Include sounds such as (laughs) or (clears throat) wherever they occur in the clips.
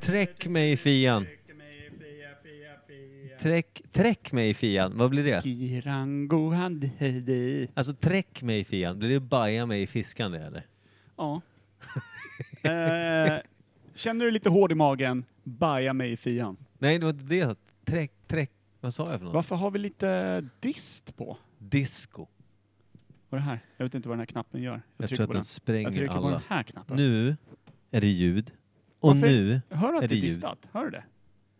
Träck mig i fian. Träck, träck mig i fian, vad blir det? Kirango handi. Alltså träck mig i fian, blir det baja mig i fiskan det eller? Ja. (laughs) eh, känner du dig lite hård i magen? Baja mig i fian. Nej, det var inte det jag sa. Träck, träck. Vad sa jag för något? Varför har vi lite dist på? Disco. Vad är det här? Jag vet inte vad den här knappen gör. Jag, trycker tror att på den Jag spränger trycker på alla. den här knappen. Nu är det ljud. Och Varför- nu, Hör du är att det det är ljud? distat? Hör du det?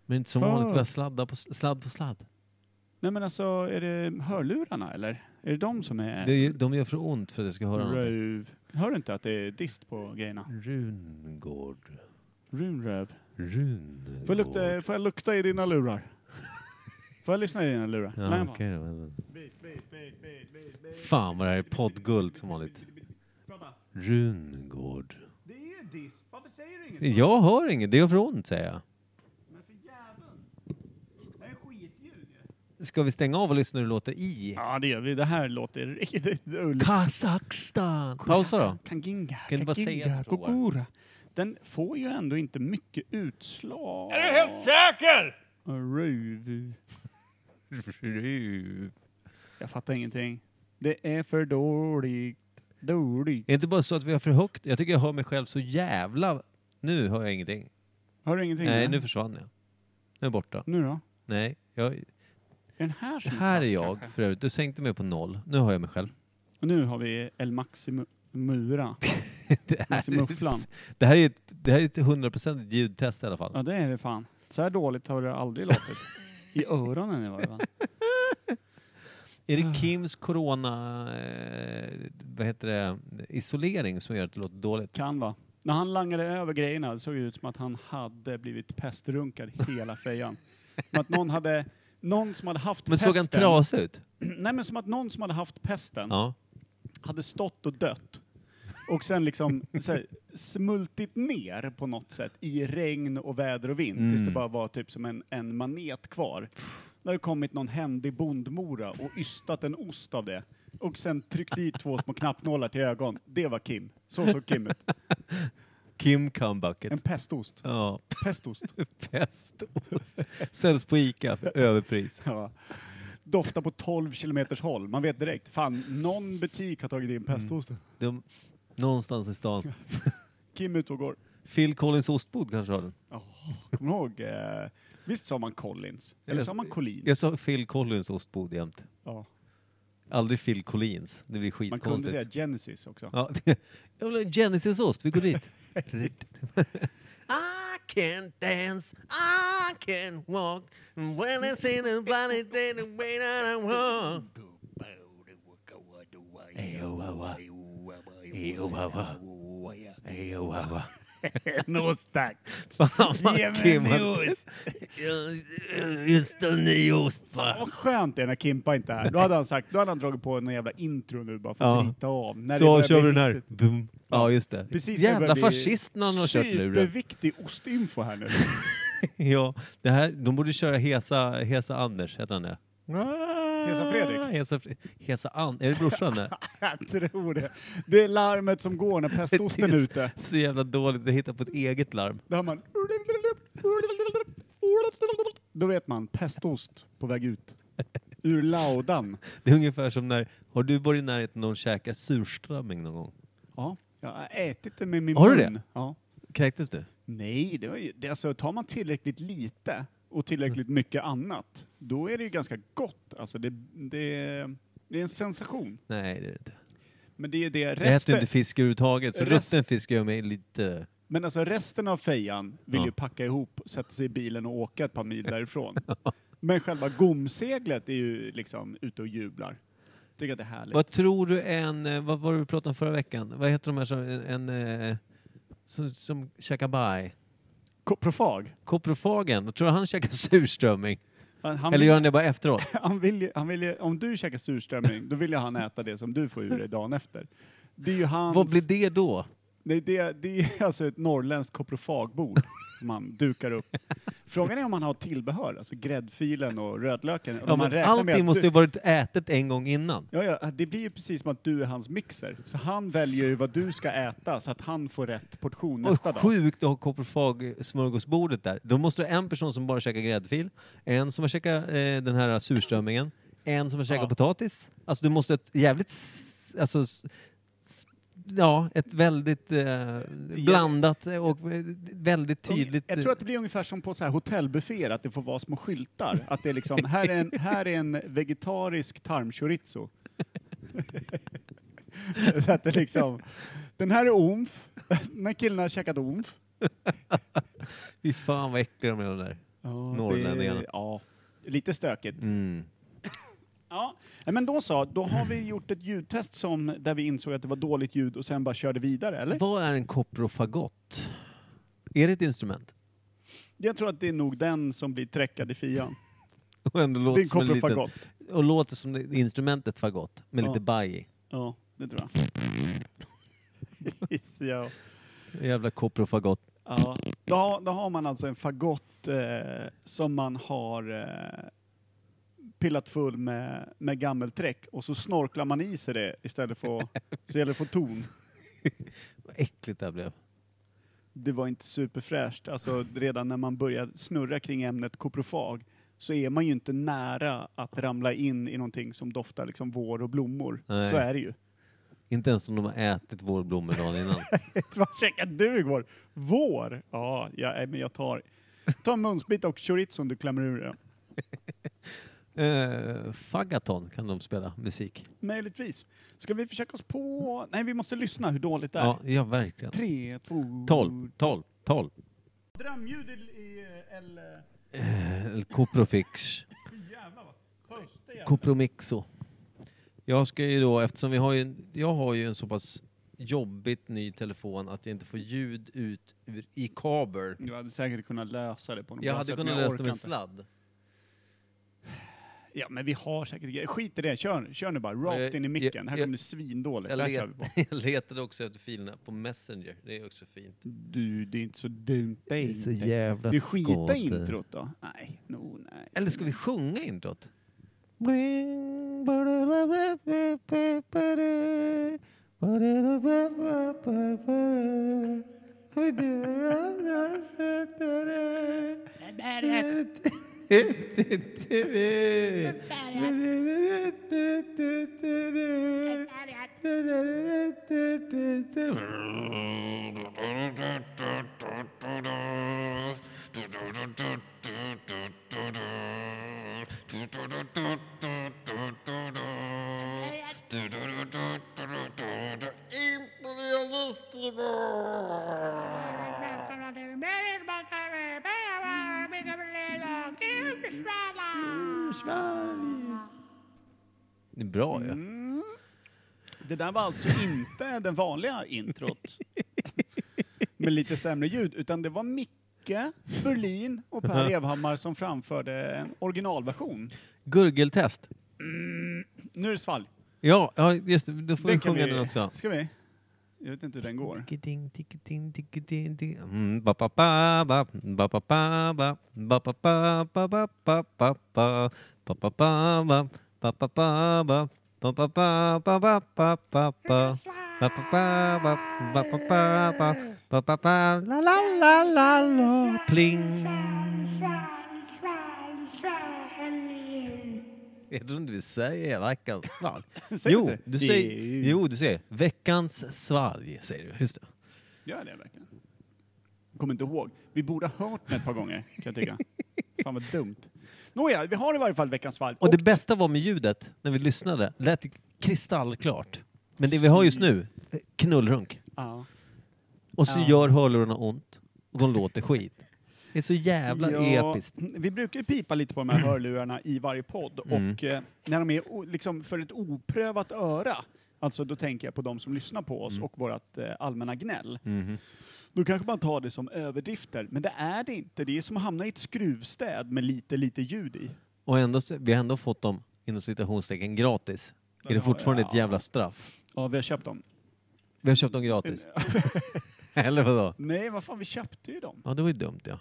men inte som Hör. vanligt, vi har sladdar på, sladd på sladd. Nej men alltså, är det hörlurarna eller? Är det de som är... Det är, ju- de gör för ont för att jag ska höra någonting. Röv. Hör du inte att det är dist på grejerna? Rungård. Runröv. Rungård. Får jag lukta, får jag lukta i dina lurar? Får jag lyssna i dina lurar? Nej, Ja, va. okej då, men- Fan vad det här är poddguld som vanligt. Rungård. Det är dist. Varför säger du inget? Jag hör inget, det gör för ont säger jag. Men för jäveln. Det här är skitljud Ska vi stänga av och lyssna hur det låter i? Ja det gör vi. Det här låter riktigt ulligt. Kazakstan! Pausa då. Kanginga. Kan du bara säga Kanginga, att det roar? Kokura. Den får ju ändå inte mycket utslag. Är du helt säker? Röv. Jag fattar ingenting. Det är för dåligt. Dåligt. Är det inte bara så att vi har för högt? Jag tycker jag hör mig själv så jävla... Nu hör jag ingenting. Har du ingenting? Nej, eller? nu försvann jag. Nu är jag borta. nu då? Nej, jag... Är den här som Här är fast jag kanske? för övrigt. Du sänkte mig på noll. Nu hör jag mig själv. (laughs) Och nu har vi El Maximo Mura. Det här, Maximufflan. det här är ett, det här är ett 100% ljudtest i alla fall. Ja det är det fan. Så här dåligt har det aldrig låtit. I öronen i varje fall. Är det Kims corona... Eh, vad heter det? Isolering som gör att det låter dåligt? Kan vara. När han langade över grejerna det såg det ut som att han hade blivit pestrunkad hela fejan. Som att någon hade, någon som hade haft Men pesten. såg han trasig ut? Nej men som att någon som hade haft pesten Ja. hade stått och dött. Och sen liksom (laughs) så här, smultit ner på något sätt i regn och väder och vind tills det Mm. bara var typ som en, en manet kvar. När det kommit någon händig bondmora och ystat en ost av det. Och sen tryckt i två små knappnålar till ögon. Det var Kim. Så såg Kim ut. Kim En comebucket. pestost. Ja, Pestost. pestost. (laughs) Säljs på Ica för överpris. (laughs) Ja. Doftar på 12 kilometers håll. Man vet direkt. Fan, någon butik har tagit in pestosten. De, någonstans i stan. Kim ut och går. Phil Collins ostbod kanske har den? Kommer du ihåg? Eh, visst sa man Collins? Eller Jag- sa man Collins? Jag sa Phil Collins ostbod jämt. Ja. Aldrig Phil Collins. Det blir Man kunde skitkonstigt. säga Genesis också. Ja, jag vill ha Genesis-ost, vi går (laughs) dit. I can dance, I can walk When I see nobody, then the way that I walk Ejowawa, ejowawa, ejowawa (laughs) (laughs) Nos tack! Fan vad Ge mig Kim en hade- ost. (laughs) Ja, Just en ny ost Fan bara. vad skönt det är när Kimpa inte är här. Då hade han sagt, då hade han dragit på en jävla intro nu bara för Ja. att rita av. När det Så börjar kör vi bli den här. riktigt- Boom. Ja just det. Precis när det Jävla börjar bli fascist när han har kört luren. Superviktig ostinfo här nu. (laughs) (laughs) Ja, det här, de borde köra Hesa, Hesa Anders, heter han det? Hesa Fredrik? Hesa, Fre- Hesa An, är det brorsan (laughs) det? Jag tror det. Det är larmet som går när pestosten är ute. Så jävla dåligt att hitta på ett eget larm. Då hör man... Då vet man, pestost på väg ut. Ur laudan. Det är ungefär som när, har du varit i närheten av någon käkar surströmming någon gång? Ja, jag har ätit det med min Har du det? mun. Ja. Kräktes du? Nej, det var ju, det, alltså, tar man tillräckligt lite och tillräckligt Mm. mycket annat, då är det ju ganska gott. Alltså, det, det, det är en sensation. Nej det är det inte. Men det är det Jag äter ju resten, inte fisk överhuvudtaget, så Rest- rutten fisk gör mig lite... men alltså resten av fejan vill Ja. ju packa ihop, sätta sig i bilen och åka ett (laughs) par mil därifrån. Men själva gomseglet är ju liksom ute och jublar. Tycker att det är härligt. Vad tror du en, eh, vad var det vi pratade om förra veckan? Vad heter de här som, en, eh, som, som käkar baj? Koprofag. Koprofagen, tror du han käkar (laughs) surströmming? Han, han, Eller vill, gör han det bara efteråt? han, vill, ju- han vill, ju- om du käkar surströmming, då vill ju han äta det som du får ur dig dagen efter. Det är ju hans... Vad blir det då? (laughs) Nej, det, det är alltså ett norrländskt koprofagbord man dukar upp. Frågan är om man har tillbehör, alltså gräddfilen och rödlöken. om Ja, man men räknar med allting att måste du... ju varit ätet en gång innan. Ja, ja, det blir ju precis som att du är hans mixer. Så han väljer ju vad du ska äta så att han får rätt portion Och nästa dag. sjukt att ha koprofagsmörgåsbordet där. Då måste du ha en person som bara käkar gräddfil, en som har käkat eh, den här surströmmingen, en som har käkat Ja. potatis. Alltså du måste ha ett jävligt... s- Alltså, s- s- ja, ett väldigt eh, blandat och eh, väldigt tydligt... eh, Jag tror att det blir ungefär som på så här hotellbufféer, att det får vara små skyltar. Att det är (laughs) liksom, här är en, här är en vegetarisk tarmchorizo. (laughs) Så att det liksom, den här är omf, (laughs) den här killen har käkat omf. Fy fan vad äckliga de är de där. Ja, Norrlänningarna. det- Ja, lite stökigt. Mm. Ja, nej, men då så, då har vi gjort ett ljudtest som, där vi insåg att det var dåligt ljud och sen bara körde vidare, eller? Vad är en koprofagott? Är det ett instrument? (laughs) Jag tror att det är nog den som blir träckad i fian. Och ändå låter Det är en som en liten, koprofagott. Och låter som det- instrumentet fagott, med Ja. lite baj i. Ja, (laughs) det tror jag. ja. Jävla koprofagott. Ja. Då, har- då har man alltså en fagott eh, som man har eh, pillat full med, med gammelträck och så snorklar man i sig det istället för att- så gäller det att få ton. Vad äckligt det här blev. Det var inte superfräscht. Alltså redan när man börjar snurra kring ämnet koprofag så är man ju inte nära att ramla in i någonting som doftar liksom vår och blommor. Nej. Så är det ju. (laughs) Inte ens om de har ätit vårblommor dagen innan. Vad käkar du igår? Vår? Ja, ja nej, men jag tar... Ta en munsbit och chorizon du klämmer ur det. Eh, fagaton kan de spela musik. Möjligtvis. Ska vi försöka oss på... Nej, vi måste lyssna hur dåligt det är. Ja, ja, verkligen. Tre, två... 12, 12, 12. Drömljud i... i L... Mm. Eh, Koprofix. Jävlar vad... Höste jävlar. Kopromixo. Jag ska ju då, eftersom vi har ju, en- jag har ju en så pass jobbigt ny telefon att jag inte får ljud ut ur, i kabel. Du hade säkert kunnat lösa det på något Jag bra hade sätt, kunnat men Mm. jag lösa det orkar med en inte. sladd. Ja, men vi har säkert grejer. Skit i det, kör, kör nu bara. Jag- Rakt in i micken. Här jag- kommer det svindåligt. Jag, Där let- kör vi (laughs) på. jag letade också efter filerna på Messenger. Det är också fint. Du, det är inte så eh. dumt. Det är inte. jävla Ska vi skita i introt då? Nej, no, nej. Eller ska vi sjunga introt? Det är bra ju. Mm. Det där var alltså inte den vanliga (laughs) introt. Med lite sämre ljud, utan det var Micke, Berlin och Per Evhammar som framförde en originalversion. Gurgeltest. Nu är det svalg. Ja, ja just det. Då får vi Den kan sjunga den också. Ska vi? Jag vet inte hur den går. Ticketing, ticketing, ticketing, tick- Mm, ba, ba, ba, ba, ba, ba, ba, ba, ba, ba, ba, ba, ba, ba, ba, ba, ba, ba, ba, ba, ba, ba, ba, ba, ba, ba, ba, ba, ba, ba, ba, ba. Ba, ba, ba, ba, ba, ba, ba, ba, ba, ba, ba, la, la, la, la, la. Pling! Jag tror inte vi säger veckans svalg. Säger Jo inte det? du, säger, Det- jo, du säger veckans svalg, säger du. Just det. Gör det verkligen? Kommer inte ihåg. Vi borde ha hört den ett par gånger, kan jag tycka. Fan vad dumt. Nåja, vi har i varje fall veckans svalg. Och det bästa var med ljudet, när vi lyssnade, lät det kristallklart. Men det vi har just nu, eh, knullrunk. Ja. Och så Ja. gör hörlurarna ont, och de låter skit. Det är så jävla episkt. Vi brukar ju pipa lite på de här hörlurarna i varje podd Mm. och eh, när de är o- liksom för ett oprövat öra, alltså då tänker jag på de som lyssnar på oss och vårt eh, allmänna gnäll. Då kanske man tar det som överdrifter, men det är det inte. Det är som att hamna i ett skruvstäd med lite, lite ljud i. Och ändå, så- vi har ändå fått dem, inom citationstecken, gratis. Ja, Är det det har- fortfarande ett ja. jävla straff? Ja, vi har köpt dem. Vi har köpt dem gratis. (laughs) Eller vadå? Nej, vad fan, vi köpte ju dem. Ja, det var ju dumt ja.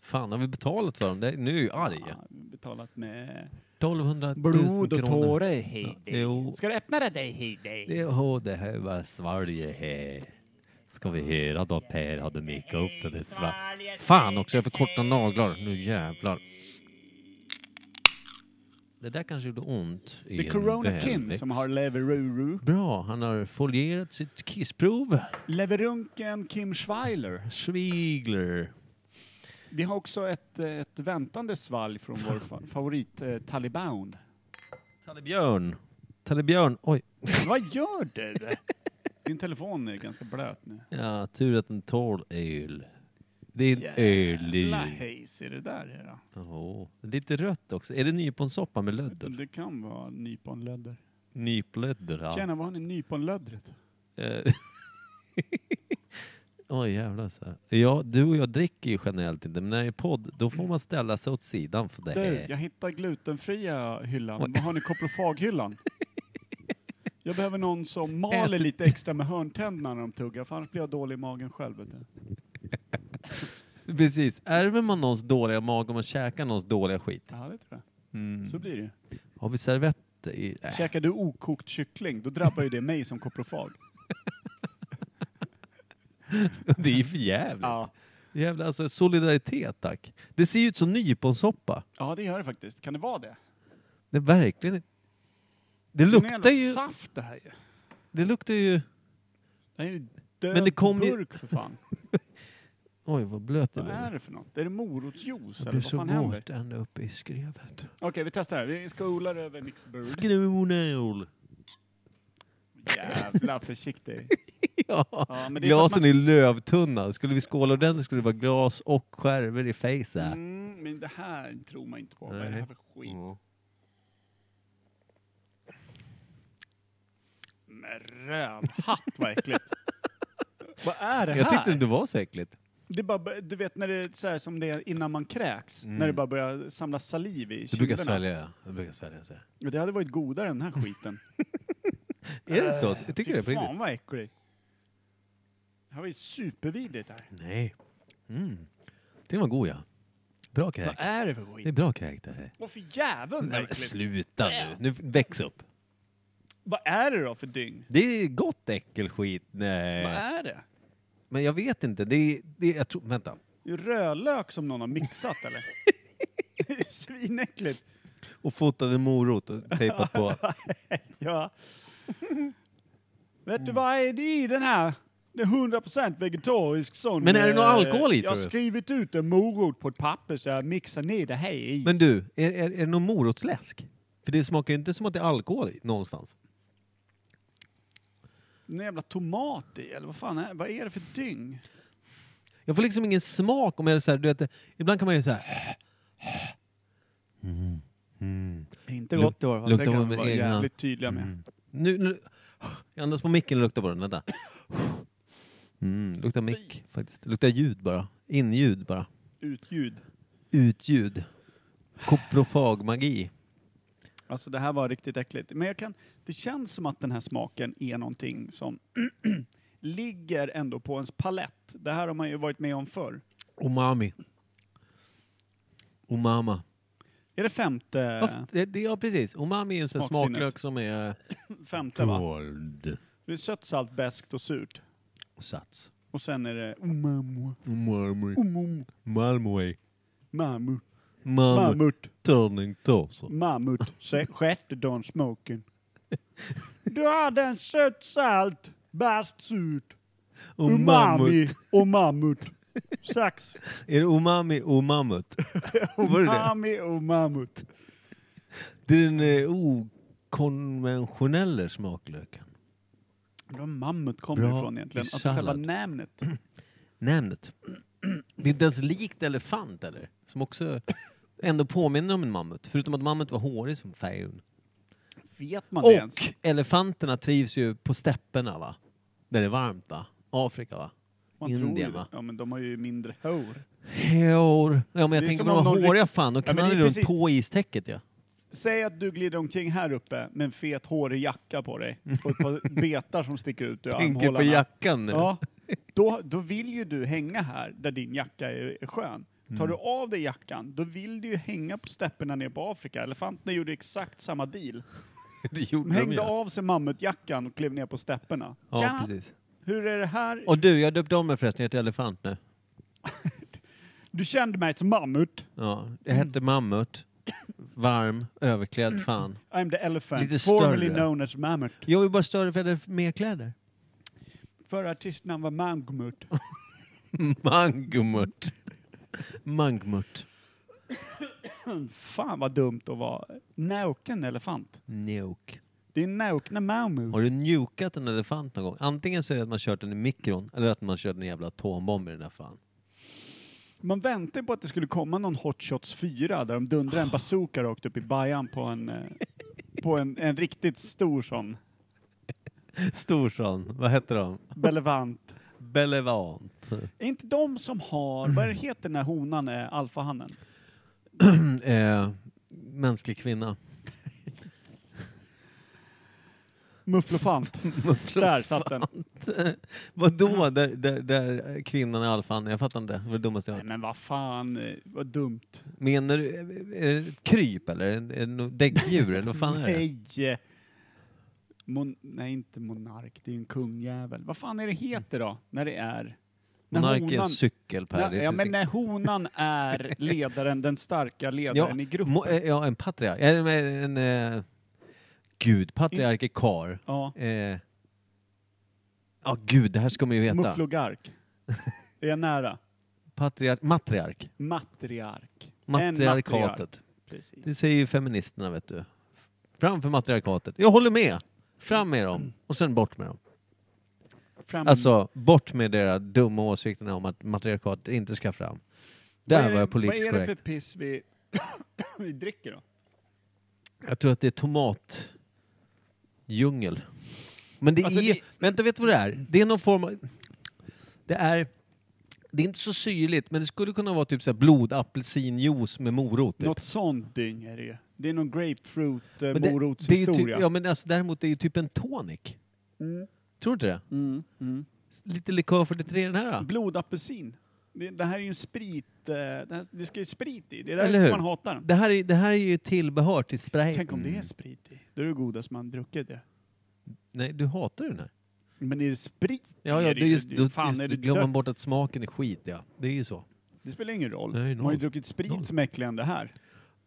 Fan, har vi betalat för dem? Det, nu är jag ju arg. Ja, betalat med 1200 000 kronor. Heidi. Jo. Ska du öppna det dig Heidi? Det, oh, det här var Sverige här. Ska vi höra då Per hade mickat upp den där svar- Fan också, jag har för korta naglar. Nu jävlar. Det där kanske gjorde ont. i Det är en Corona Kim välväxt. som har Leveruru. Bra, han har folierat sitt kissprov. Leverunken Kim Schweiler. Schwigler. Vi har också ett, eh, ett väntande svalg från vår fa- favorit eh, Taliban. Tallebjörn. Tallebjörn. Oj. Vad gör du? Din telefon är ganska blöt nu. Ja, tur att den tål öl. Det är en Jävla öl hejs är det där är då. oh, Lite rött också. Är det nyponsoppa med lödder? Det kan vara nyponlödder. Nyplödder, ja. Tjena, vad har ni nyponlöddret? Eh, (laughs) Oj jävlar. Så. Ja, du och jag dricker ju generellt inte, men när det är podd då får man ställa sig åt sidan för det. Du, jag hittar glutenfria hyllan. Vad har (laughs) ni koprofaghyllan? Jag behöver någon som maler Ät- lite extra med hörntänderna när de tuggar, för annars blir jag dålig i magen själv. Vet du. Precis. Ärver man någons dåliga mage och man käkar någons dåliga skit. Ja, det tror jag. Så blir det ju. Har vi servetter i? Mm. Äh. Käkar du okokt kyckling, då drabbar ju det mig som koprofag. (laughs) Det är ju för jävligt. Ja. Jävla, alltså, solidaritet tack. Det ser ju ut som nyponsoppa. ja, det gör det faktiskt. Kan det vara det? Det är verkligen det Det är någon luktar jävla ju, saft det här ju. det luktar ju... Det här är ju död Men det kom ju- burk (laughs) för fan. Oj vad blöt det Vad är blev. det för något? Är det morotsjuice Jag eller blev vad så fan händer? våt ända upp i skrevet. Okej, vi testar. här. Vi skolar över Mixbird. Skrunål. Jävla försiktig. (laughs) Ja. Ja, men det är för att Glasen är lövtunna. Skulle vi skåla ordentligt skulle det vara glas och skärvor i face. här. Mm, men det här tror man inte på. Vad är det Nej. här för skit? Ja. Men rövhatt vad äckligt. (laughs) vad är det här? Jag tyckte inte det var så äckligt. Det är bara, du vet när det är så här som det är innan man kräks. När det bara börjar samlas saliv i Mm. Du brukar kinderna. svälja. Du brukar svälja så. här. Det hade varit godare än den här skiten. Är det så? (laughs) Jag tycker Fy det är på fan riktigt. vad äckligt. Det här var ju supervidrigt här. Nej. Mm. Den var god ja. Bra Vad kräk. är det för Det är skit? bra kräk det här. Vad för djävul Nej, men verkligen? sluta nu. Nu väx upp. Vad är det då för dygn? Det är gott äckelskit. Vad Nej. är det? Men jag vet inte. Det är, det är, jag tror, vänta. Det är rödlök som någon har mixat eller? (laughs) (laughs) Det är ju Svinäckligt. Och fotade morot och tejpat på. (laughs) Ja. Vet du vad är det i den här? Det är 100% vegetarisk sån. Men är det någon eh, alkohol i, Jag tror har du? skrivit ut en morot på ett papper så jag mixar ner det här i. Men du, är, är, är det någon morotsläsk? För det smakar ju inte som att det är alkohol i någonstans. Någon jävla tomat i eller vad fan är Vad är det för dyng? Jag får liksom ingen smak om jag är så här, du vet, ibland kan man ju så här. Inte Luk- gott det var. Det luktar kan på vi med vara egna- jävligt tydliga med. Nu, nu, jag andas på micken och luktar på den, vänta. Mm, luktar mick faktiskt. Luktar ljud bara. Inljud bara. Utljud. Utljud. Koprofagmagi. Alltså det här var riktigt äckligt. Men jag kan, det känns som att den här smaken är någonting som (clears throat) ligger ändå på ens palett. Det här har man ju varit med om förr. Umami. Umama. Är det femte? Ja, f- det, det, ja precis. Umami är en sån här Smaksinnet. smaklök som är... eh, Femte va? Kold. Det är sött, salt, beskt och surt. Sats. Och sen är det umamo, Umami. umum, Malmö. mammut, Malmö. mammut, Turning torso. mammut, Se- sjätte dagen smoken. Du hade en sött, salt, bäst, surt, Och umami mammut. och mammut. Sax, Är det umami och mammut? Var det det? umami och mammut. Det är den eh, okonventionella smaklöken. Undrar var mammut kommer Bra ifrån egentligen. Alltså sallad. själva namnet. Namnet. (clears throat) Det är inte ens likt elefant eller? Som också ändå påminner om en mammut. Förutom att mammut var hårig som fan. Vet man det ens? Och elefanterna trivs ju på stepperna va? Där det är varmt va? Afrika va? Man tror ju Indien det. va? Ja men de har ju mindre hår. Hår. Ja men jag Det är tänker som på de om någon ryck- håriga fan, då Ja, men knallar det de är runt precis- på istäcket ja. Säg att du glider omkring här uppe med en fet hårig jacka på dig och (laughs) ett par betar som sticker ut ur Tänker armhålorna. på jackan nu. Ja, då, då vill ju du hänga här där din jacka är, är skön. Mm. Tar du av dig jackan, då vill du ju hänga på stäpperna ner på Afrika. Elefanterna gjorde exakt samma deal. (laughs) Det gjorde De de ju. hängde av sig mammutjackan och klev ner på stäpperna. Ja, Tjena! precis. Hur är det här? Och du, jag döpte om mig förresten. Jag heter Elefant nu. Du kände mig som mammut. Ja, jag hette Mammut. Varm, överklädd, fan. I'm the elephant, Lite formerly större. known as mammut. Jag var bara större för jag hade mer (laughs) kläder. Förra artistnamn var Mamgmut. Mangmurt. Mangmurt. Fan vad dumt att vara nauken elefant. Nuke. Det är naukna mammut. Har du njukat en elefant någon gång? Antingen så är det att man kört den i mikron eller att man kört en jävla atombomb i den där fan. Man väntade på att det skulle komma någon Hot Shots 4 där de dundrar en bazooka rakt upp i bajan på en, eh, på en, en riktigt stor sån. Storsson. Vad heter de? Belevant. Belevant. Är inte de som har, vad är det heter när honan är alfahannen? (clears throat) eh, mänsklig kvinna. Mufflofant. Där satt den. (laughs) Vadå? Där, där, där kvinnan är alfan? Jag fattar inte. Det var det dummaste jag Nej hört. men vad fan, eh, vad dumt. Menar du, är det ett kryp eller? Är det något däggdjur eller vad fan är det? (laughs) Nej! Mon nej, inte monark, det är ju en kungjävel. Vad fan är det heter då? När det är... När Monark är en honan- cykel Per. Ja, Det är ja, men precis- när honan är ledaren, den starka ledaren i gruppen. mo- eh, ja, en patriark. Eller med en... Eh, gud, patriark är kar. ja. Eh, ja, gud, det här ska man ju veta. Mufflogark. Är jag nära? Patriark, matriark. Matriark. En matriark. Matriarkatet. Precis. Det säger ju feministerna, vet du. Framför matriarkatet. Jag håller med! Fram med dem, och sen bort med dem. Fram, Alltså, bort med deras dumma åsikterna om att matriarkatet inte ska fram. Vad är Där var det- jag politiskt Vad är det för korrekt. piss vi, (coughs) vi dricker då? Jag tror att det är tomatdjungel. Men det Alltså, är... det- Vänta, vet du vad det är? Det är någon form av... Det är... Det är inte så syrligt, men det skulle kunna vara typ så här blodapelsinjuice med morot. Typ. Något sånt dyng är det ju. Det är någon grapefruit, eh, Men det- morotshistoria. Det är ju typ, ja, men alltså, däremot det är ju typ en tonic. Mm, Tror du inte det? mm, mm. Lite likör 43 den här. då. Blodapelsin. Det, det här är ju en sprit, eh, det, här, det ska ju sprit i. Det är Eller därför hur? man hatar den. Det här, är, det här är ju tillbehör till spray. Tänk om det är sprit i. Då är det godast man druckit det. Nej, du hatar den här. Men är det sprit i Ja, är ja, det det är ju- just, det- då, fan, just, då är det glömmer dött? man bort att smaken är skit, ja. Det är ju så. Det spelar ingen roll. Nej, man har ju noll. druckit sprit Noll. som är äckligare än det här.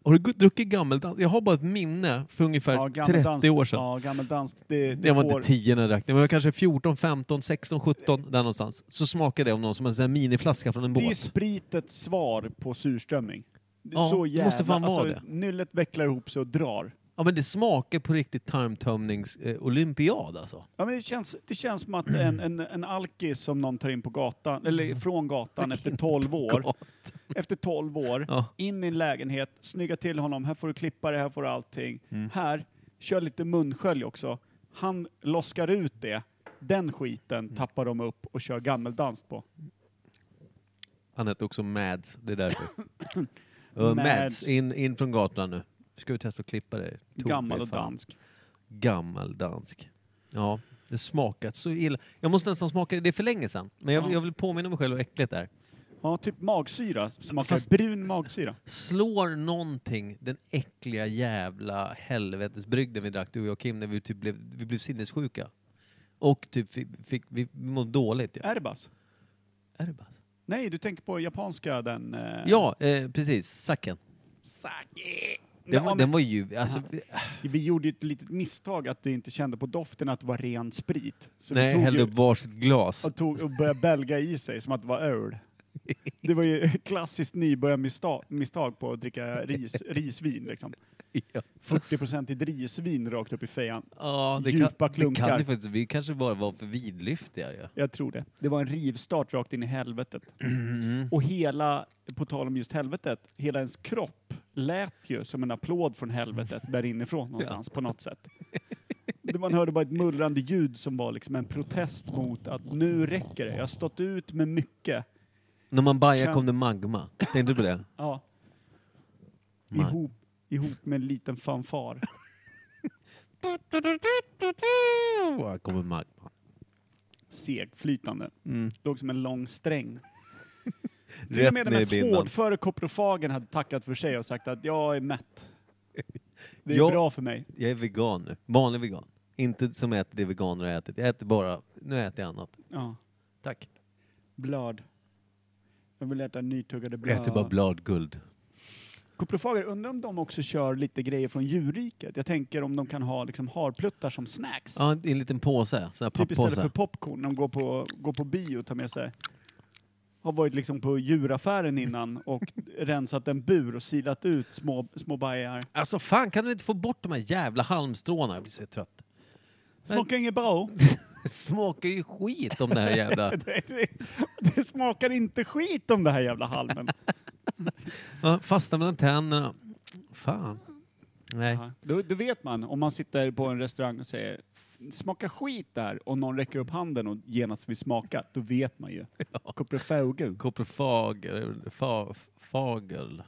Har du gu- druckit gammeldans? Jag har bara ett minne för ungefär 30 dans, år sedan. Ja, gammeldans. Det, det jag var får, inte 10 när jag drack det, men jag var kanske 14, 15, 16, 17, där någonstans. Så smakade det om någon som en sån här miniflaska från en det är ju båt. spritets svar på surströmming. Det är Ja, så det jävla... måste fan vara alltså, Nyllet vecklar ihop sig och drar. Ja men det smakar på riktigt tarmtömnings-olympiad alltså. Ja, men det, känns, det känns som att en, en, en alkis som någon tar in på gatan, eller Mm. från gatan efter 12 år, efter 12 år, Ja. in i en lägenhet, snygga till honom, här får du klippa det, här får du allting. Mm. Här, kör lite munskölj också. Han loskar ut det, den Mm. skiten tappar de upp och kör gammeldans på. Han hette också Mads, det är (laughs) därför. uh, Mads. Mads, in, in från gatan nu. Ska vi testa att klippa det? Tog Gammal vi och fan. dansk. Gammal dansk. Ja, det smakat så illa. Jag måste nästan smaka det, det är för länge sedan. Men jag, Ja. jag vill påminna mig själv hur äckligt det är. Ja, typ magsyra, smakar Fast- brun magsyra. Slår någonting den äckliga jävla helvetesbrygden vi drack, du och jag och Kim, när vi typ blev, vi blev sinnessjuka? Och typ fick, fick vi mådde dåligt. Ja. Erbas? Är det bara? Nej, du tänker på japanska den... Eh, Ja, eh, precis. Saken. Sake. Den, Ja, var- men- den var ju... Alltså, Vi gjorde ju ett litet misstag att vi inte kände på doften att det var ren sprit. Så vi nej, tog, hällde ju, upp varsitt glas. och, tog och började bälga i sig som att det var öl. Det var ju (laughs) ett klassiskt nybörjarmisstag misstag på att dricka ris, risvin. Liksom. (laughs) Ja. 40 i risvin rakt upp i fejan. Ja, det Djupa kan, det klunkar. kan det faktiskt. Vi kanske bara var för vidlyftiga. Ja. Jag tror det. Mm. Det var en rivstart rakt in i helvetet. Och hela, på tal om just helvetet, hela ens kropp lät ju som en applåd från helvetet där inifrån någonstans på något sätt. Det- Man hörde bara ett mullrande ljud som var liksom en protest mot att nu räcker det. Jag har stått ut med mycket. När man bajar Kan- kom det magma. Tänkte du på (laughs) det? Ja. Man. Ihop, ihop med en liten fanfar. Här kommer magma. Segflytande. Mm. (laughs) Låg som en lång sträng. Till och med Rätt ner den i mest bindan. hårdföre koprofagen hade tackat för sig och sagt att jag är mätt. Det är Ja. bra för mig. Jag är vegan nu. Vanlig vegan. Inte som äter det veganer har ätit. Jag äter bara, nu äter jag annat. Ja. Tack. Blöd. Jag vill äta nytuggade Jag äter bara blöd. bladguld. Koprofager, undrar om de också kör lite grejer från djurriket? Jag tänker om de kan ha liksom harpluttar som snacks. Ja, i en liten påse. Sån här typ istället för papppåse. popcorn, de går på, går på bio och tar med sig. Har varit liksom på djuraffären innan och rensat en bur och silat ut små, små bajar. Alltså fan, kan du inte få bort de här jävla halmstråna? Jag blir så trött. (laughs) Smakar inget bra. (laughs) Det smakar ju skit om det här jävla... Det, det, det smakar inte skit om det här jävla halmen. Ja, Fastnar mellan tänderna. Fan. Nej. Ja. Då, då vet man, om man sitter på en restaurang och säger smaka skit där och någon räcker upp handen och genast vill smaka, då vet man ju. Koprofager. Koprofager, fa, fagel.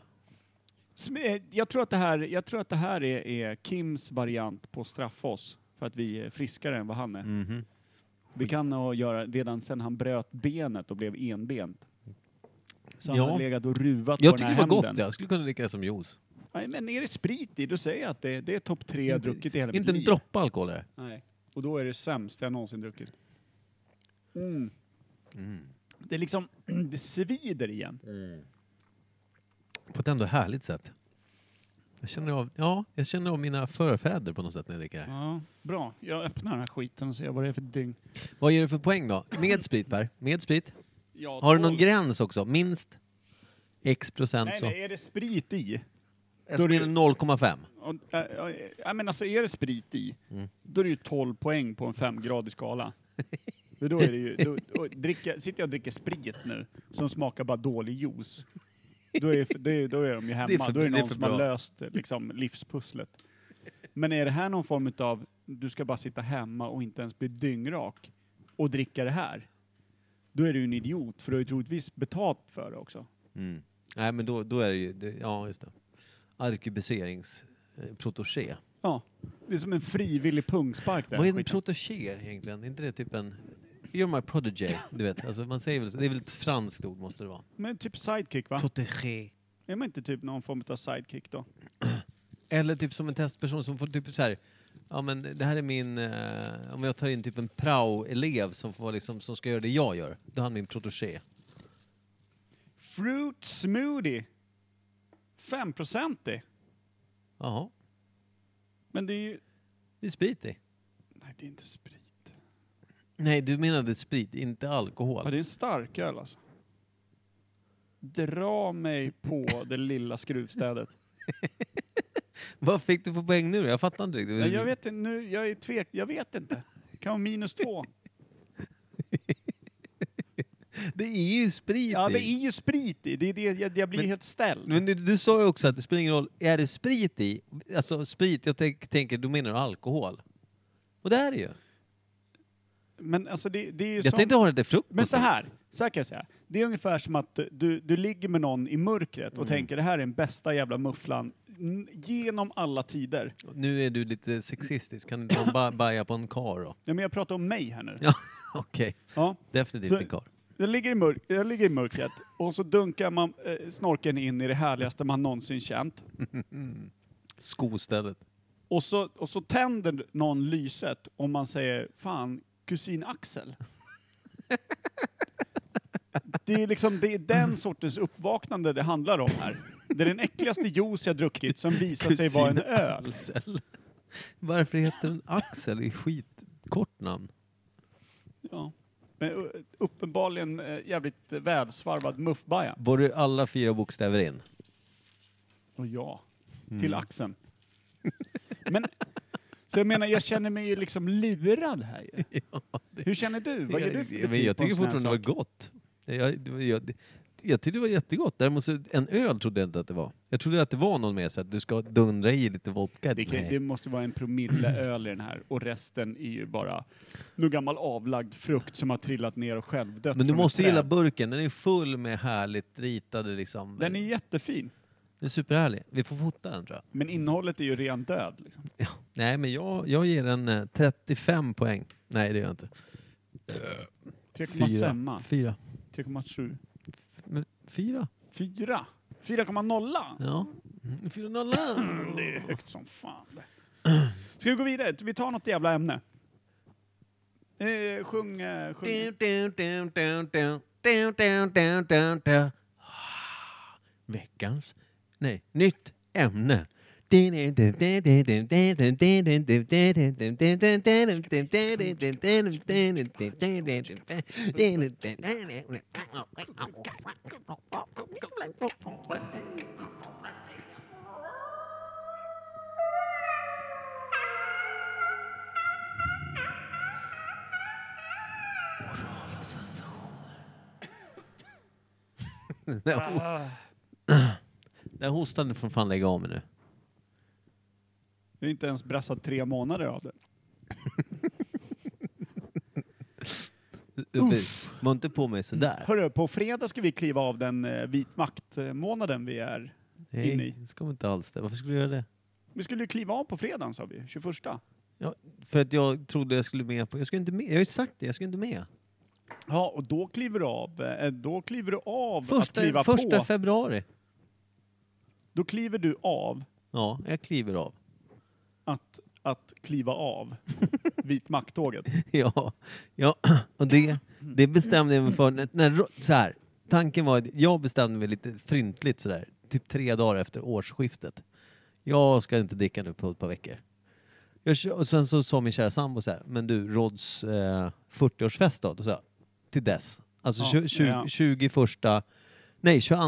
Sm- eh, Jag tror att det här, jag tror att det här är, är Kims variant på straffa oss för att vi är friskare än vad han är. Mhm. Vi kan ha att göra redan sen han bröt benet och blev enbent. Så han Ja. har legat och ruvat Jag på den tycker det här var gott. hämnden. Jag skulle kunna dricka det som juice. Nej, men är det sprit i, då säger jag att det, det är topp tre jag Inte- druckit i hela mitt Inte en liv. droppe alkohol är det. Nej. Och då är det sämst jag någonsin druckit. Mm. Mm. Det är liksom, (clears throat) det svider igen. På ett ändå härligt sätt. Jag känner av, ja, jag känner av mina förfäder på något sätt när jag dricker det här. Ja, bra, jag öppnar den här skiten och ser vad det är för dygn. Vad ger du för poäng då? Med sprit Per? Med sprit? Ja, Har du någon tolv. gräns också? Minst X procent Nej, så? nej, är det sprit i? Då är det 0,5. Och, äh, äh, ja, men alltså är det sprit i, Mm. då är det ju 12 poäng på en (laughs) femgradig skala. För då är det ju, då, och dricka, sitter jag och dricker sprit nu, som smakar bara dålig juice, då är, det- det, då är de ju hemma. Det är för- då är det det är någon för som har bra. löst liksom, livspusslet. Men är det här någon form av, du ska bara sitta hemma och inte ens bli dyngrak och dricka det här, då är du ju en idiot, för du har ju troligtvis betalt för det också. Mm. Nej men då, då är det ju, det, ja just det. Arkebuserings-protoché. Ja, det är som en frivillig pungspark där. Vad är en skiten. protoché egentligen? Är inte det typ en... You're my prodigy, du vet. Alltså man säger väl så. Det är väl ett franskt ord måste det vara. Men typ sidekick va? Protégé. Är man inte typ någon form av sidekick då? Eller typ som en testperson som får typ så här... Ja men det här är min... Eh, om jag tar in typ en prao-elev som, får vara liksom, som ska göra det jag gör. Då är han min protégé. Fruit smoothie! 5% Jaha. Men det är ju... Det är sprit i. Nej, det är inte sprit. Nej, du menade sprit, inte Ja, alkohol. det är en stark öl alltså. Dra mig på det lilla skruvstädet. Vad fick du för poäng nu då? Jag fattar inte riktigt. Nej, jag vet inte, nu, jag är tvek, jag vet inte. Det kan vara minus (laughs) två. Det är ju sprit Ja, i. det är ju sprit i. Det är det, jag, jag blir Men- helt ställd. Men du, du sa ju också att det spelar ingen roll, är det sprit i? Alltså sprit, jag tänk, tänker, då menar du alkohol. Och det är det ju. Men alltså det, det är ju Jag som... tänkte ha det till frukost. Men så här, så här kan jag säga. Det är ungefär som att du, du ligger med någon i mörkret och tänker det här är den bästa jävla mufflan n- genom alla tider. Nu är du lite sexistisk, kan du inte bara baja på en kar då? (laughs) Ja, men jag pratar om mig här nu. Ja. Ja, okej. Definitivt Så- en kar. Jag, ligger i mörk, jag ligger i mörkret och så dunkar man eh, snorken in i det härligaste man någonsin känt. (laughs) Skostället. Och så, och så tänder någon lyset om man säger fan, kusin Axel. Det är liksom det är den sortens uppvaknande det handlar om här. Det är den äckligaste juice jag druckit som visar sig vara en Kusin öl. Axel. Varför heter den Axel? Det är skitkort namn. Ja. Men uh, uppenbarligen eh, jävligt eh, välsvarvad muffbaja. Var du alla fyra bokstäver in? Och ja, Mm. till axeln. Men, så jag menar, jag känner mig ju liksom lurad här ju. (laughs) Hur känner du? Vad ger du för jag, men jag betyg på en tycker sån fortfarande här det var sak? gott. Jag, jag, jag, jag tyckte det var jättegott. Däremot så, en öl trodde jag inte att det var. Jag trodde att det var någon mer så att du ska dundra i lite vodka. Det, kan, Nej. det måste vara (clears throat) en promille öl i den här och resten är ju bara någon gammal avlagd frukt som har trillat ner och självdött men du från ett måste gilla träd. burken. Den är full med härligt ritade liksom. Den är jättefin, Den är superhärlig. Vi får fota den tror jag. men innehållet är ju ren död. Liksom. Ja. Nej men jag, jag ger den eh, 35 poäng. Nej det gör jag inte. 3,5, Fyra. 3,7. Men Fyra. Fyra. 4,0. Ja. Fyra nollan. Det är högt som fan. Ska vi gå vidare? Vi tar något jävla ämne. Eh, sjung, eh, sjung. Mm. Veckans, nej, nytt ämne. Ah. Den hostan får fan lägga av med nu. Jag har inte ens brassat tre månader av det. Var inte på mig sådär. Hörru, på fredag ska vi kliva av den eh, vit makt-månaden vi är. inne i. Nej, det ska man inte alls det. Varför skulle du göra det? Vi skulle ju kliva av på fredagen sa vi, 21. Ja, för att jag trodde jag skulle med på... Jag skulle inte med. Jag har ju sagt det, jag skulle inte med. Ja, och då kliver du av, eh, då kliver du av att kliva Första, första på. februari. Då kliver du av Ja, jag kliver av. att, att kliva (laughs) av vit makt-tåget. (laughs) Ja, ja. och det, det bestämde jag mig för när, när ro- så här, tanken var att jag bestämde mig lite fryntligt sådär, typ tre dagar efter årsskiftet. Jag ska inte dricka nu på ett par veckor. Jag, kö- och sen så sa min kära sambo så här, men du Rods eh, 40-årsfest då? Då sa jag, till dess. Alltså Ja, tju- tju- ja. 21, nej 22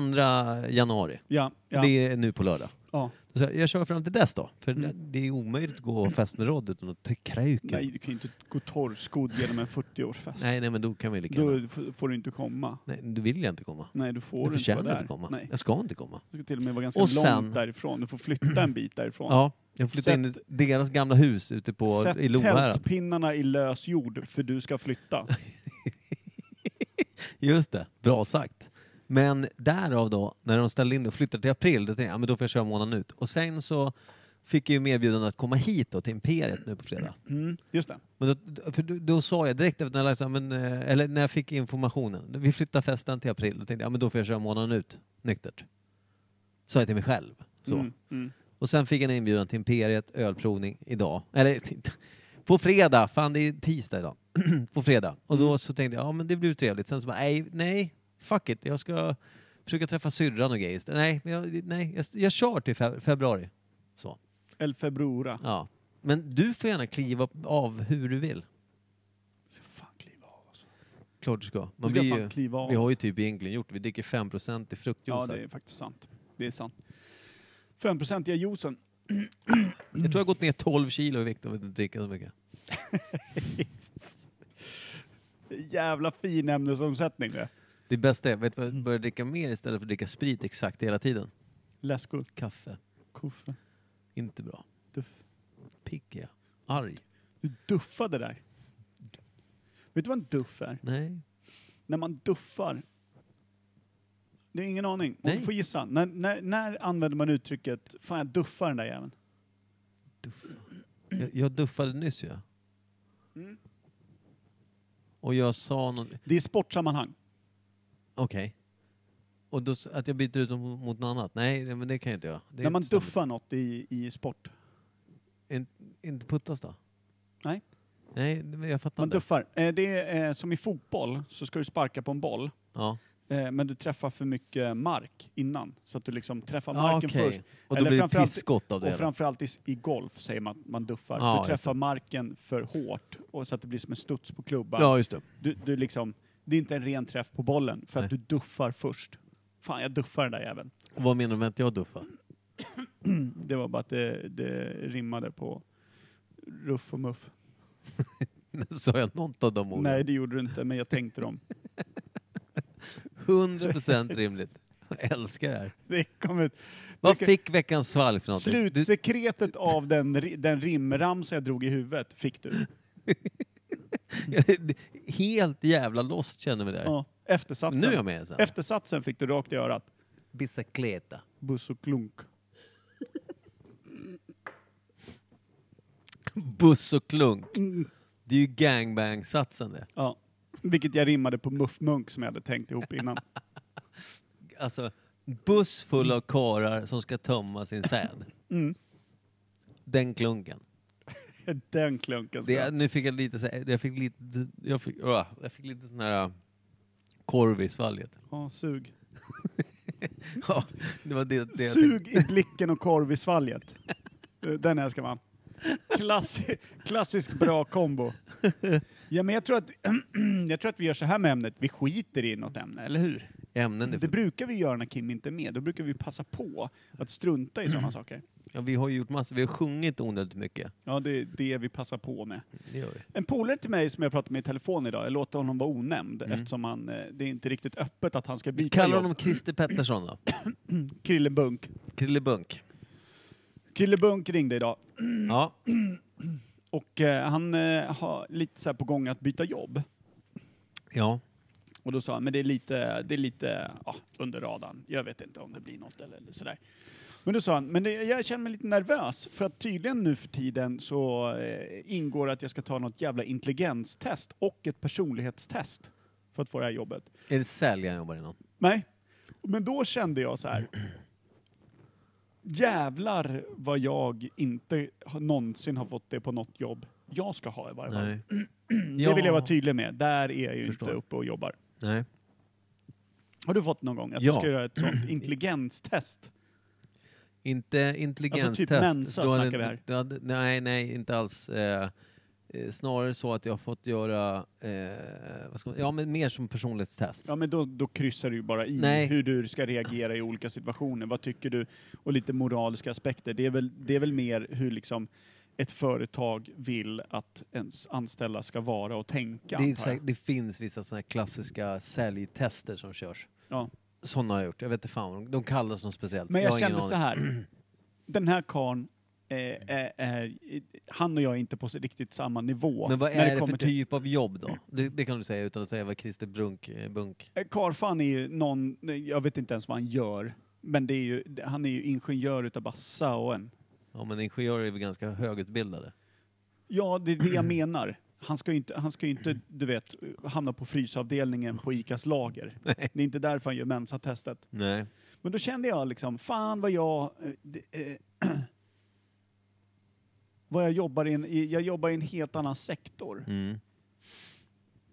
januari. Ja, ja, Det är nu på lördag. ja. Då sa jag, jag kör fram till dess då, för Mm. det, det är omöjligt att gå och fest med Rod utan att ta kruken. Nej, du kan ju inte gå torrskodd genom en 40-årsfest. nej, nej, men då kan vi lika gärna. Då f- får du inte komma. Nej, du vill jag inte komma. Nej, du får Du du inte förtjänar vara inte, där. komma. Nej, Jag ska inte komma. du ska till och med vara ganska Och långt sen- därifrån. Du får flytta en bit därifrån. Ja, jag flyttade in i Sätt- deras gamla hus ute på, Sätt i Lohärad. tältpinnarna i lös jord, för du (laughs) ska flytta. Just det, bra sagt. Men därav då, när de ställde in det och flyttade till april, då tänkte jag ja, men då får jag köra månaden ut. Och sen så fick jag ju medbjudande att komma hit då, till Imperiet nu på fredag. Mm, just det. Men då, för då, då sa jag direkt efter när jag, läste, men, eh, eller när jag fick informationen, vi flyttar festen till april, då tänkte jag ja, men då får jag köra månaden ut, nyktert. Sa jag till mig själv. Så. Mm, mm. Och sen fick jag en inbjudan till Imperiet ölprovning idag. Eller t- på fredag, fan det är tisdag idag. (clears throat) på fredag. Och Mm. då så tänkte jag, ja men det blir trevligt. Sen så bara, nej, nej, fuck it. Jag ska försöka träffa syrran och grejer. istället. Nej, men jag, nej, jag, jag kör till fe- februari. Så, El Febrora. ja. Men du får gärna kliva av hur du vill. Ska fan kliva av alltså. Klart du ska. Du Man ska blir fan ju, kliva av. vi har ju typ egentligen gjort, vi dricker 5% i ja, fruktjuice. det är faktiskt sant. Det är sant. 5-procentiga Jag juicen. tror jag har gått ner 12 kilo i vikt av att inte dricka så mycket. Jävla fin ämnesomsättning det. Det bästa är, vet du vad jag börjar dricka mer istället för att dricka sprit exakt hela tiden? Läskor. Kaffe. Kuffe. Inte bra. Duff. Pigg är jag. Arg. Du duffade där. Vet du vad en duff är? Nej. När man duffar. Det är ingen aning. Om Nej. du får gissa. När, när, när använder man uttrycket Fan jag duffar den där jäveln? Duffa. Jag, jag duffade nyss ju. Mm. Och jag sa någon... Det är sportsammanhang. Okej. Och då, s- att jag byter ut dem mot något annat? Nej, nej, men det kan jag inte göra. Det är När man inte sant. duffar något i, i sport. In, inte puttas då? Nej. Nej, det- men jag fattar Man inte. duffar. Eh, Det är eh, som i fotboll, så ska du sparka på en boll. Ja. Eh, Men du träffar för mycket mark innan. Så att du liksom träffar Ja, marken Ah, okej. först. Och då Eller blir det framförallt- pisskott av det. Och hela. framförallt i, s- i golf säger man att man duffar. Ja, du just träffar marken för hårt och så att det blir som en studs på klubban. ja, just det. Du, du liksom, det är inte en ren träff på bollen för att Nej. du duffar först. Fan, jag duffar den där jäveln. Och vad menar du med att jag duffar? (laughs) Det var bara att det, det rimmade på ruff och muff. Sa jag något av de orden? Nej, det gjorde du inte, men jag (laughs) tänkte dem. 100% (laughs) rimligt. Jag älskar det här. Det kom ett, Vad Vilka- fick veckans svalg för någonting? Du, slutsekretet av den, ri- den rimramsa jag drog i huvudet fick du. (laughs) helt jävla lost känner vi där. Ja, nu är jag eftersatsen. med sen. Eftersatsen fick du rakt i örat. Bicicleta. Buss och klunk. (laughs) Buss och klunk. Det är ju gangbang-satsen det. Ja. Vilket jag rimmade på muffmunk som jag hade tänkt ihop innan. alltså, buss full av karar som ska tömma sin (laughs) säd. Mm. Den klunken. (laughs) Den klunken. Det, Det... nu fick jag lite så här, jag fick lite, jag fick, ah, jag fick lite sån här ah, korv i svalget. Ja, sug. Ja, (laughs) det var det, det jag tänkte. Sug i blicken och korv i svalget. Eh, Den älskar man. Klassi klassisk bra kombo. Ja, men jag tror, att, (clears throat) jag tror att vi gör så här med ämnet. Vi skiter i något ämne, eller hur? ämnen. Det Det, brukar vi göra när Kim inte är med. Då brukar vi passa på att strunta i (clears throat) sådana saker. ja, vi har ju gjort massor, vi har sjungit onödigt mycket. Ja, det är det vi passar på med. Det gör vi. En polare till mig som jag pratade med i telefon idag, jag låter honom vara onämnd eftersom han, eh, det är inte riktigt öppet att han ska byta Mm. Kallar jobb. honom Christer Pettersson då? Krille Bunk. Krillebunk. Krille Bunk ringde idag Ja. och eh, han eh, har lite så här på gång att byta jobb. Ja. Och då sa han, men det är lite, det är lite ja, under radarn. Jag vet inte om det blir något eller, eller sådär. Men då sa han, men det, jag känner mig lite nervös för att tydligen nu för tiden så eh, ingår att jag ska ta något jävla intelligenstest och ett personlighetstest för att få det här jobbet. Är det sälj han jobbar inom? Nej. Men då kände jag så här. Jävlar vad jag inte har- någonsin har fått det på något jobb jag ska ha i varje fall. (clears throat) Det vill jag vara tydlig med. Där är jag ju Förstår. inte uppe och jobbar. Nej. Har du fått någon gång att Ja. du ska göra (clears throat) ett sånt intelligenstest? Inte intelligenstest. Alltså typ Mensa Då hade- snackar vi här. då hade- nej, nej, inte alls. Eh, eh, snarare så att jag har fått göra, eh, vad ska man, ja men mer som personlighetstest. Ja, men då, då kryssar du ju bara i Nej. hur du ska reagera i olika situationer. Vad tycker du? Och lite moraliska aspekter. Det är väl, det är väl mer hur liksom ett företag vill att ens anställda ska vara och tänka. det, är antar jag. säkert- det finns vissa sådana här klassiska säljtester som körs. Ja. Sådana har jag gjort. Jag vet inte fan, vad de- de kallas något speciellt. Men jag, har ingen kände så aning. här. (clears throat) Den här karln, eh, är, är, han och jag är inte på så riktigt samma nivå. Men vad när är det, för kommer till- typ av jobb då? Det, det kan du säga utan att säga vad Christer Brunk, eh, Bunk... Eh, Karlfan är ju någon, nej, jag vet inte ens vad han gör. Men det är ju, han är ju ingenjör utav Bassa och en. Ja men ingenjörer är väl ganska högutbildade? Ja, det är det (clears throat) jag menar. Han ska ju inte, han ska ju inte du vet, hamna på frysavdelningen på ICAs lager. Det är inte därför han gör Mensa-testet. Nej. Men då kände jag liksom, fan vad jag... eh, det, Eh, (clears throat) vad jag jobbar i en, i- jag jobbar i en helt annan sektor. Mm. I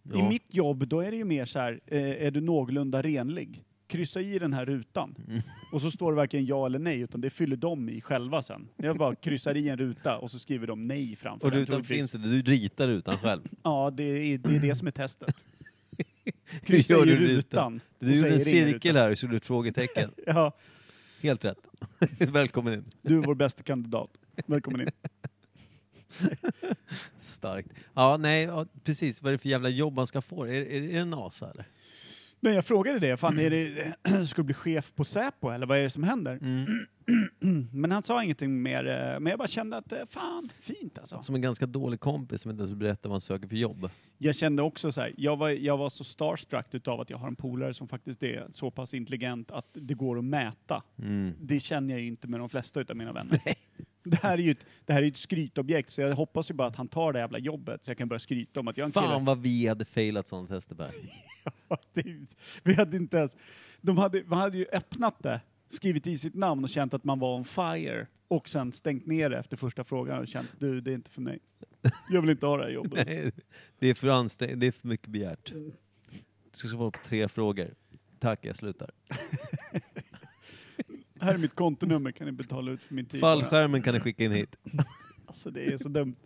Ja. mitt jobb, då är det ju mer så här, eh, är du någorlunda renlig? Kryssa i den här rutan. Mm. Och så står det varken ja eller nej, utan det fyller de i själva sen. Jag bara kryssar i en ruta och så skriver de nej framför Och den, rutan troligtvis. finns inte, du ritar rutan (laughs) själv. Ja, det är, det är det som (laughs) är testet. Hur Kryssa gör i du rutan. och Du gjorde säger en ingen cirkel ruta. här och så gjorde ett (laughs) frågetecken. Ja, Helt rätt. (laughs) Välkommen in. du är vår bästa kandidat. Välkommen in. Starkt. Ja, nej, ja, precis. Vad är det för jävla jobb man ska få? Är, är, är det en NASA eller? Men jag frågade det, fan är det, (clears throat) ska du bli chef på Säpo eller vad är det som händer? (clears throat) Men han sa ingenting mer, eh, men jag bara kände att eh, fan, fint alltså. Som en ganska dålig kompis som inte ens berättar vad han söker för jobb. Jag kände också så här, jag var, jag var så starstruck utav att jag har en polare som faktiskt är så pass intelligent att det går att mäta. Det känner jag ju inte med de flesta utav mina vänner. (laughs) Det här är ju ett, det här är ju ett skrytobjekt, så jag hoppas ju bara att han tar det jävla jobbet så jag kan börja skryta om att jag är en kille. Fan vad vi hade failat sådana tester (laughs) Per. Ja, (laughs) det- Vi hade inte ens... De hade, man hade ju öppnat det, skrivit i sitt namn och känt att man var on fire. Och sen stängt ner det efter första frågan och känt du, det är inte för mig. Jag vill inte ha det här jobbet. Nej, det, är för ansträng- det är för mycket begärt. Mm. Du ska svara på tre frågor. Tack, jag slutar. Här är mitt kontonummer, kan ni betala ut för min tid? bara? Fallskärmen kan ni skicka in hit. Alltså det är så dumt.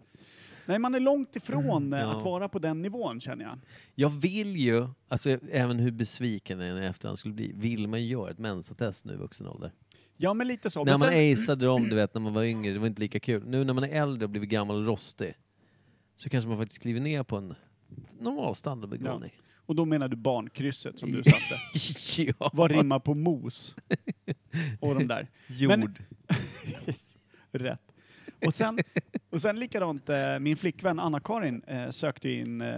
Nej, man är långt ifrån eh, ja. att vara på den nivån känner jag. Jag vill ju, alltså även hur besviken jag än i efterhand skulle bli, vill man göra ett mensatest nu i vuxen ålder? Ja, men lite så. När Men man sen, aceade dem, du vet, när man var yngre, det var inte lika kul. Nu när man är äldre och blivit gammal och rostig, så kanske man faktiskt kliver ner på en normal standardbegåvning. och då menar du barnkrysset som du satte. (laughs) Ja. Vad rimmar (laughs) på mos? Och de där. Jord. Rätt. Och sen, och sen likadant, eh, min flickvän Anna-Karin eh, sökte in, eh,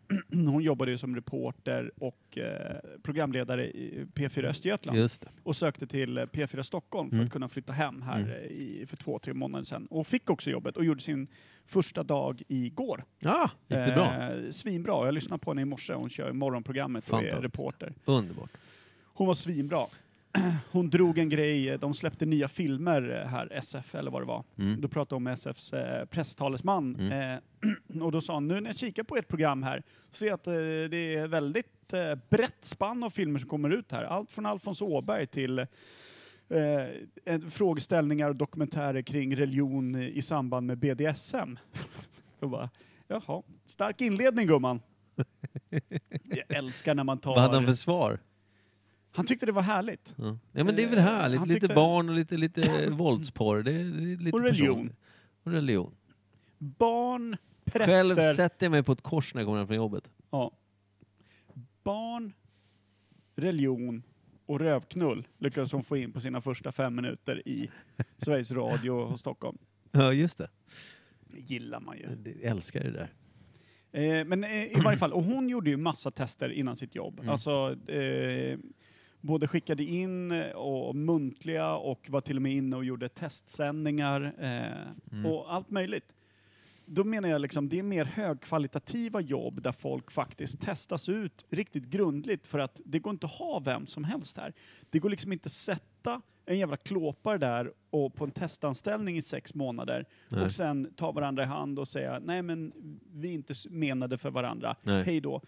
(clears throat) hon jobbade ju som reporter och eh, programledare i P4 Östergötland Just det. och sökte till eh, P4 Stockholm Mm. för att kunna flytta hem här eh, i, för två, tre månader sedan. Och fick också jobbet och gjorde sin första dag igår. Ja, gick det bra? Eh, svinbra. Jag lyssnade på henne i morse, hon kör morgonprogrammet och är Fantastiskt. reporter. Underbart. Hon var svinbra. (clears throat) hon drog en grej, eh, de släppte nya filmer eh, här, SF eller vad det var. Mm. Då pratade hon med SFs eh, presstalesman eh, (clears throat) och då sa han, nu när jag kikar på ert program här, ser jag att eh, det är väldigt eh, brett spann av filmer som kommer ut här. Allt från Alfons Åberg till eh, eh, frågeställningar och dokumentärer kring religion i samband med BDSM. (laughs) Jag bara, jaha, stark inledning gumman. (laughs) Jag älskar när man tar... Vad hade han för svar? Han tyckte det var härligt. Ja. ja men det är väl härligt. Eh, Han lite tyckte- barn och lite, lite (laughs) våldsporr. Det är, det är lite Och religion. personligt. Och religion. Barn, Själv präster... sätter jag mig på ett kors när jag kommer hem från jobbet. Ja. Barn, religion och rövknull lyckades hon få in på sina första fem minuter i Sveriges Radio och Stockholm. Ja, just det. Det gillar man ju. Jag älskar det där. Eh, men eh, i varje fall, och hon gjorde ju massa tester innan sitt jobb. Alltså, eh, både skickade in eh, och muntliga och var till och med inne och gjorde testsändningar eh, Mm. och allt möjligt. Då menar jag liksom, det är mer högkvalitativa jobb där folk faktiskt testas ut riktigt grundligt för att det går inte att ha vem som helst här. Det går liksom inte att sätta en jävla klåpare där och på en testanställning i sex månader Nej. och sen ta varandra i hand och säga nej men vi är inte s- menade för varandra, Nej. hej då.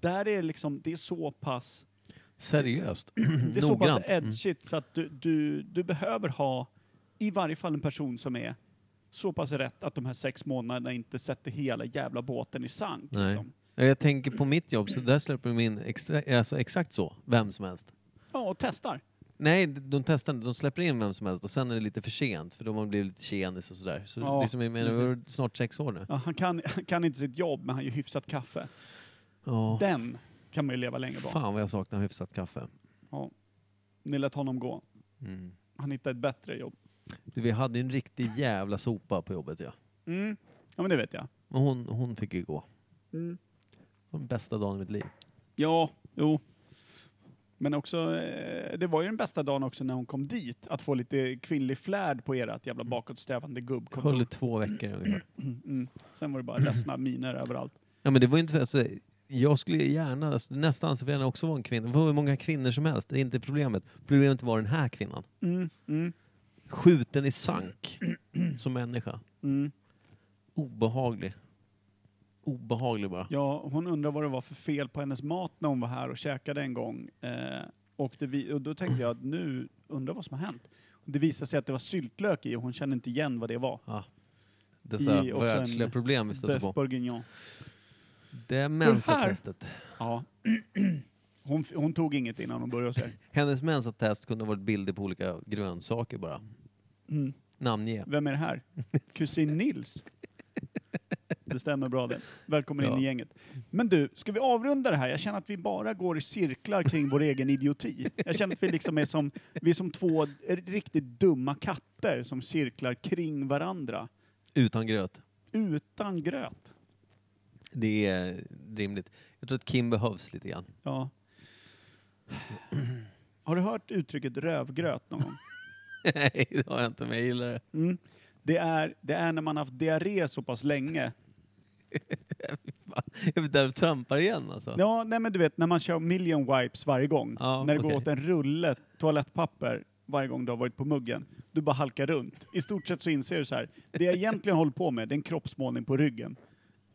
Där är det liksom, det är så pass, Seriöst. (clears throat) det är så pass Noggrant. Mm. edgigt så att du, du, du behöver ha i varje fall en person som är så pass rätt att de här sex månaderna inte sätter hela jävla båten i sank. Nej. Liksom. Ja, Jag tänker på mitt jobb, så där släpper de in extra, alltså exakt så, vem som helst. Ja, och testar. Nej, de testar inte. De släpper in vem som helst och sen är det lite för sent för de har blivit lite tjenis och sådär. Så Ja, det är som jag menar, vi har snart sex år nu. Ja, han, kan, han kan inte sitt jobb men han gör hyfsat kaffe. Ja. Den kan man ju leva länge på. Fan vad jag saknar hyfsat kaffe. Ja. Ni lät honom gå. Mm. Han hittade ett bättre jobb. Du, vi hade ju en riktig jävla sopa på jobbet ja. Mm. Ja men det vet jag. Men hon, hon fick ju gå. Mm. Det var den bästa dagen i mitt liv. Ja, jo. Men också, eh, det var ju den bästa dagen också när hon kom dit, att få lite kvinnlig flärd på ert jävla bakåtsträvande gubbkontor. Höll i två veckor ungefär. Mm. Sen var det bara ledsna miner överallt. Ja men det var ju inte... Alltså, jag skulle gärna, alltså, nästan så vill jag gärna också vara en kvinna. Det var hur många kvinnor som helst, det är inte problemet. Problemet var den här kvinnan. Mm. Mm. Skjuten i sank (clears throat) som människa. Mm. Obehaglig. Obehaglig bara. Ja, hon undrar vad det var för fel på hennes mat när hon var här och käkade en gång. Eh, och, det vi, och då tänkte jag att nu undrar vad som har hänt. Det visade sig att det var syltlök i och hon kände inte igen vad det var. Dessa I också världsliga en problem vi stöter Bœuf på. bourguignon. Det mensatestet. Ja. (clears throat) Hon, f- hon tog inget innan hon började. Så här. Hennes mensatest kunde ha varit bilder på olika grönsaker bara. Mm. Namnge. Vem är det här? Kusin Nils? Det stämmer bra det. Välkommen in Ja. i gänget. Men du, ska vi avrunda det här? Jag känner att vi bara går i cirklar kring vår egen idioti. Jag känner att vi liksom är som, vi är som två riktigt dumma katter som cirklar kring varandra. Utan gröt. Utan gröt. Det är rimligt. Jag tror att Kim behövs lite grann. (laughs) Ja. Har du hört uttrycket rövgröt någon gång? Nej, det har jag inte, men jag gillar det. Mm. Det, är, det är när man haft diarré så pass länge Jag vet där du trampar igen alltså. Ja, nej men du vet när man kör million wipes varje gång. Ja, när det går okej. åt en rulle toalettpapper varje gång du har varit på muggen. Du bara halkar runt. I stort sett så inser du så här. Det jag egentligen håller på med, det är en kroppsmålning på ryggen.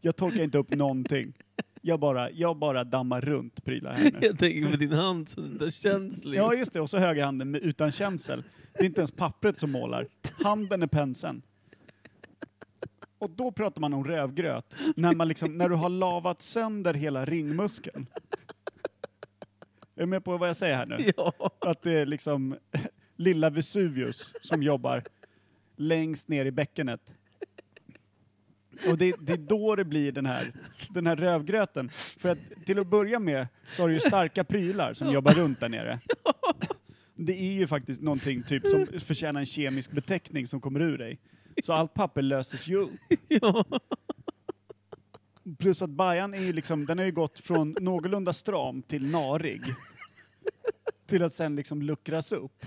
Jag torkar inte upp någonting. Jag bara, jag bara dammar runt prylar här nu. (laughs) Jag tänker på din hand så där känslig. Ja, just det. Och så höger handen med, utan känsel. Det är inte ens pappret som målar. Handen är penseln. Och då pratar man om rövgröt. När, man liksom, när du har lavat sönder hela ringmuskeln. Är du med på vad jag säger här nu? ja. Att det är liksom lilla Vesuvius som jobbar längst ner i bäckenet. Och det, det är då det blir den här, den här rövgröten. För att till att börja med så har du ju starka prylar som jobbar runt där nere. Det är ju faktiskt någonting typ som förtjänar en kemisk beteckning som kommer ur dig. Så allt papper löses ju upp. Plus att bajan är ju liksom, den har ju gått från någorlunda stram till narig. Till att sen liksom luckras upp.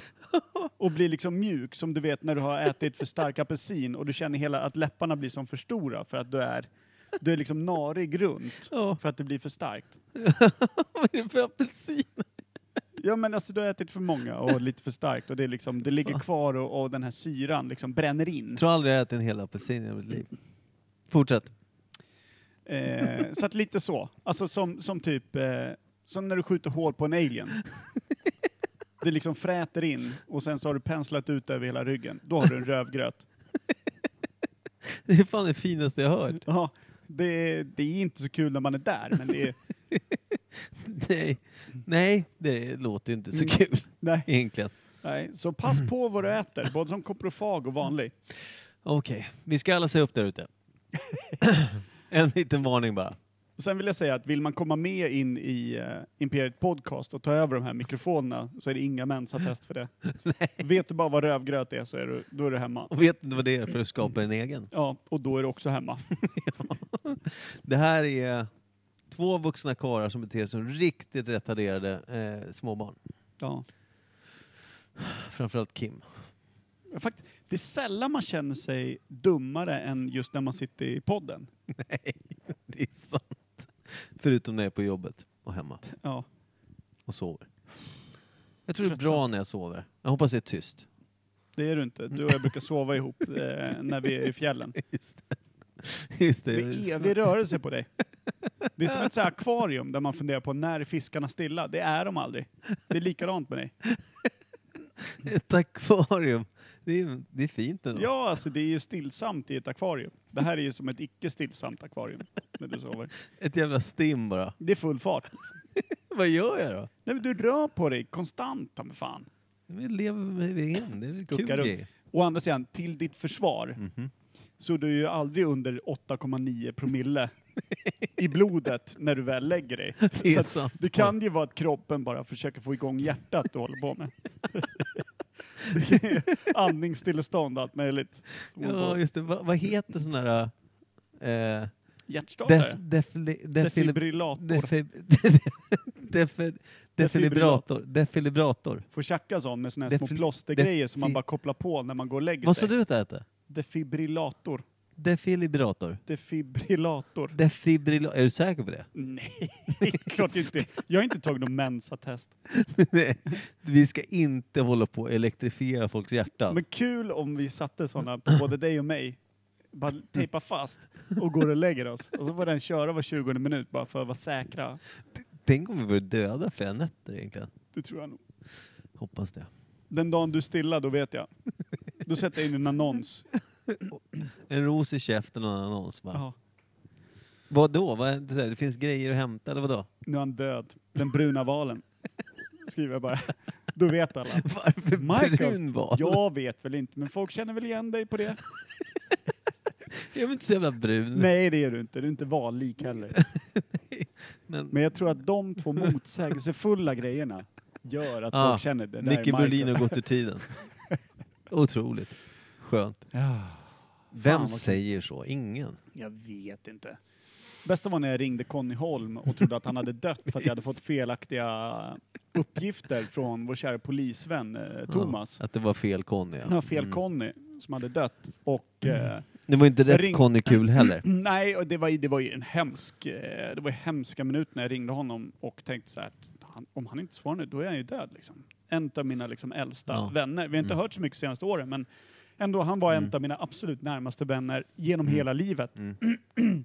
Och blir liksom mjuk som du vet när du har ätit för stark apelsin och du känner hela att läpparna blir som för stora för att du är, du är liksom narig runt. Ja. För att det blir för starkt. Vad är det för apelsin? Ja men alltså du har ätit för många och lite för starkt och det, är liksom, det ligger kvar och, och den här syran liksom bränner in. Jag tror aldrig jag ätit en hel apelsin i mitt liv. Fortsätt. Eh, så att lite så. Alltså som, som typ, eh, som när du skjuter hål på en alien. Det liksom fräter in och sen så har du penslat ut över hela ryggen. Då har du en rövgröt. Det är fan det finaste jag hört. Ja, det, det är inte så kul när man är där men det är, Nej, Nej det låter ju inte så Mm. kul nej, egentligen. nej. Så pass på vad du äter, både som koprofag och vanlig. Okej, vi ska alla se upp där (laughs) ute. en liten varning bara. Sen vill jag säga att vill man komma med in i eh, Imperiet Podcast och ta över de här mikrofonerna så är det inga mensattest (laughs) för det. Vet du bara vad rövgröt är så är du, då är du hemma. Och vet inte vad det är för att skapa en (laughs) egen. Ja, och då är du också hemma. Det här är två vuxna karlar som beter sig som riktigt retarderade eh, småbarn. (laughs) Ja. Framförallt Kim. Fakt, det är sällan man känner sig dummare än just när man sitter i podden. Det är sant. Förutom när jag är på jobbet och hemma Ja. och sover. Jag tror det är bra när jag sover. Jag hoppas det är tyst. Det är du inte. Du och jag brukar sova ihop eh, när vi är i fjällen. Just det. (laughs) Just Det det. är evig rörelse på (laughs) dig. Det är som ett så här akvarium där man funderar på när är fiskarna stilla? Det är de aldrig. Det är likadant med dig. Ett akvarium. Det är, det är fint ändå. Ja, alltså det är ju stillsamt i ett akvarium. Det här är ju som ett icke stillsamt akvarium när du sover. Ett jävla stim bara. Det är full fart. Liksom. Vad gör jag då? Nej, men du rör på dig konstant, ta mig fan. Vi lever med VM. Det är väl kul Kuckar (laughs) runt. grej. Å andra sidan, till ditt försvar, Mhm. så du är ju aldrig under 8,9 promille i blodet när du väl lägger dig. (laughs) Det Så är att sant. det kan ju vara att kroppen bara försöker få igång hjärtat du (laughs) håller på med. Det är Andningsstillestånd och allt möjligt. Ja, just det. Va, vad heter sån där... Eh, def, Hjärtstartare. defli, defili, (laughs) Defibrillator. defib, def, Defibrillator. defilibrator. Defilibrator. får tjacka sån med såna här små Defi- plåstergrejer som man defi- bara kopplar på när man går och lägger Vad sa sig. du att det hette? Defibrillator. Defilibrator. Defibrillator. Defibrillator. Är du säker på (laughs) det? Nej, klart inte. Jag har inte tagit någon mensattest. Nej. Vi ska inte hålla på och elektrifiera folks hjärtan. Men kul om vi satte såna på både dig och mig. Bara tejpa fast och går och lägger oss. Och så får den köra var 20 minut bara för att vara säkra. Tänk om vi vore döda flera nätter egentligen. Det tror jag nog. Hoppas det. Den dagen du är stilla, då vet jag. Då sätter jag in en annons. En ros i käften och en annons bara. Jaha, Vadå? Vad, du säger, det finns grejer att hämta eller vadå? nu är han död. Den bruna valen. Skriver jag bara. Då vet alla. (laughs) Varför Michael, brunval? (laughs) Jag vet väl inte, men folk känner väl igen dig på det? Jag är inte så jävla brun. (laughs) Nej, det är du inte. Du är inte vallik heller. Men, Men jag tror att de två motsägelsefulla grejerna gör att Ah, folk känner det. där är Nicke Michael. Brolin har gått ur (laughs) tiden. Otroligt. Skönt. Ja, Vem vad- säger så? Ingen. Jag vet inte. Bästa var när jag ringde Conny Holm och trodde att han hade dött för att jag hade fått felaktiga uppgifter från vår kära polisvän eh, Thomas. Ja, att det var fel Conny. Det var Ja. fel Conny som hade dött. Och, eh, Det var inte Jag rätt ring- Conny (clears throat) Kul heller. Mm, Nej, och det var, ju- det var ju en hemsk, eh, det var ju hemska minut när jag ringde honom och tänkte så här att han, om han inte svarar nu, då är han ju död liksom. En av mina liksom äldsta Ja. vänner. Vi har inte Mm. hört så mycket senaste åren, men ändå, han var en Mm. av mina absolut närmaste vänner genom Mm. hela livet. Mm. (clears throat)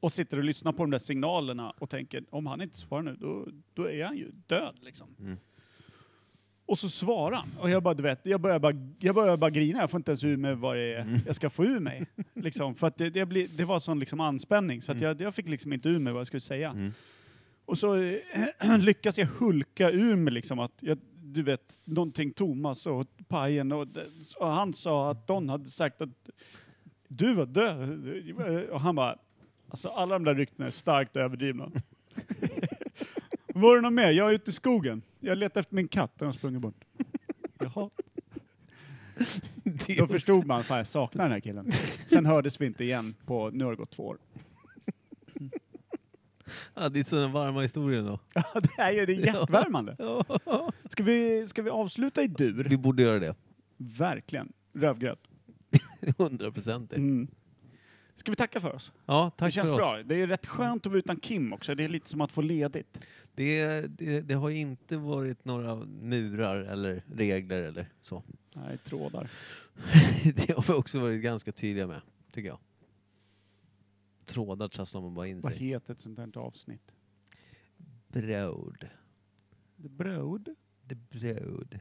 och sitter och lyssnar på de där signalerna och tänker, om han inte svarar nu, då, då är han ju död liksom. Mm. Och så svarar han. Och jag bara, du vet, jag börjar bara, jag börjar bara grina. Jag får inte ens ur mig vad det Mm. är jag ska få ur mig. Liksom, för att det, det, blir, det var sån liksom anspänning så att jag, jag fick liksom inte ur mig vad jag skulle säga. Mm. Och så eh, (clears throat) lyckas jag hulka ur mig liksom att, jag, du vet, någonting Thomas och Pajen och, det- och han sa att Don hade sagt att du var död. Och han bara, alltså alla de där ryktena är starkt överdrivna. Var det någon mer? Jag är ute i skogen. Jag letar efter min katt, den har sprungit bort. Jaha. Då förstod man, fan jag saknar den här killen. Sen hördes vi inte igen på, nu har det gått två år. Ja, det är sådana varma historier då. (laughs) Ja, det är ju det är hjärtvärmande. Ska vi, ska vi avsluta i dur? Vi borde göra det. Verkligen. Rövgröt. 100 procent. Mm. Ska vi tacka för oss? Ja, det tack känns för oss. bra. Det är rätt skönt att vara utan Kim också. Det är lite som att få ledigt. Det, det, det har ju inte varit några murar eller regler eller så. (laughs) Nej, trådar. Det har vi också varit ganska tydliga med, tycker jag. Trådar trasslar man bara in Vad sig i. heter ett sånt här avsnitt? Bröd. The Broad. The Broad.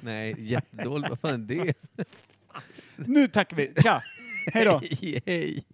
Nej, (laughs) jättedåligt. Vad fan är det? (laughs) Nu tackar vi. Tja! Hej då! Hej!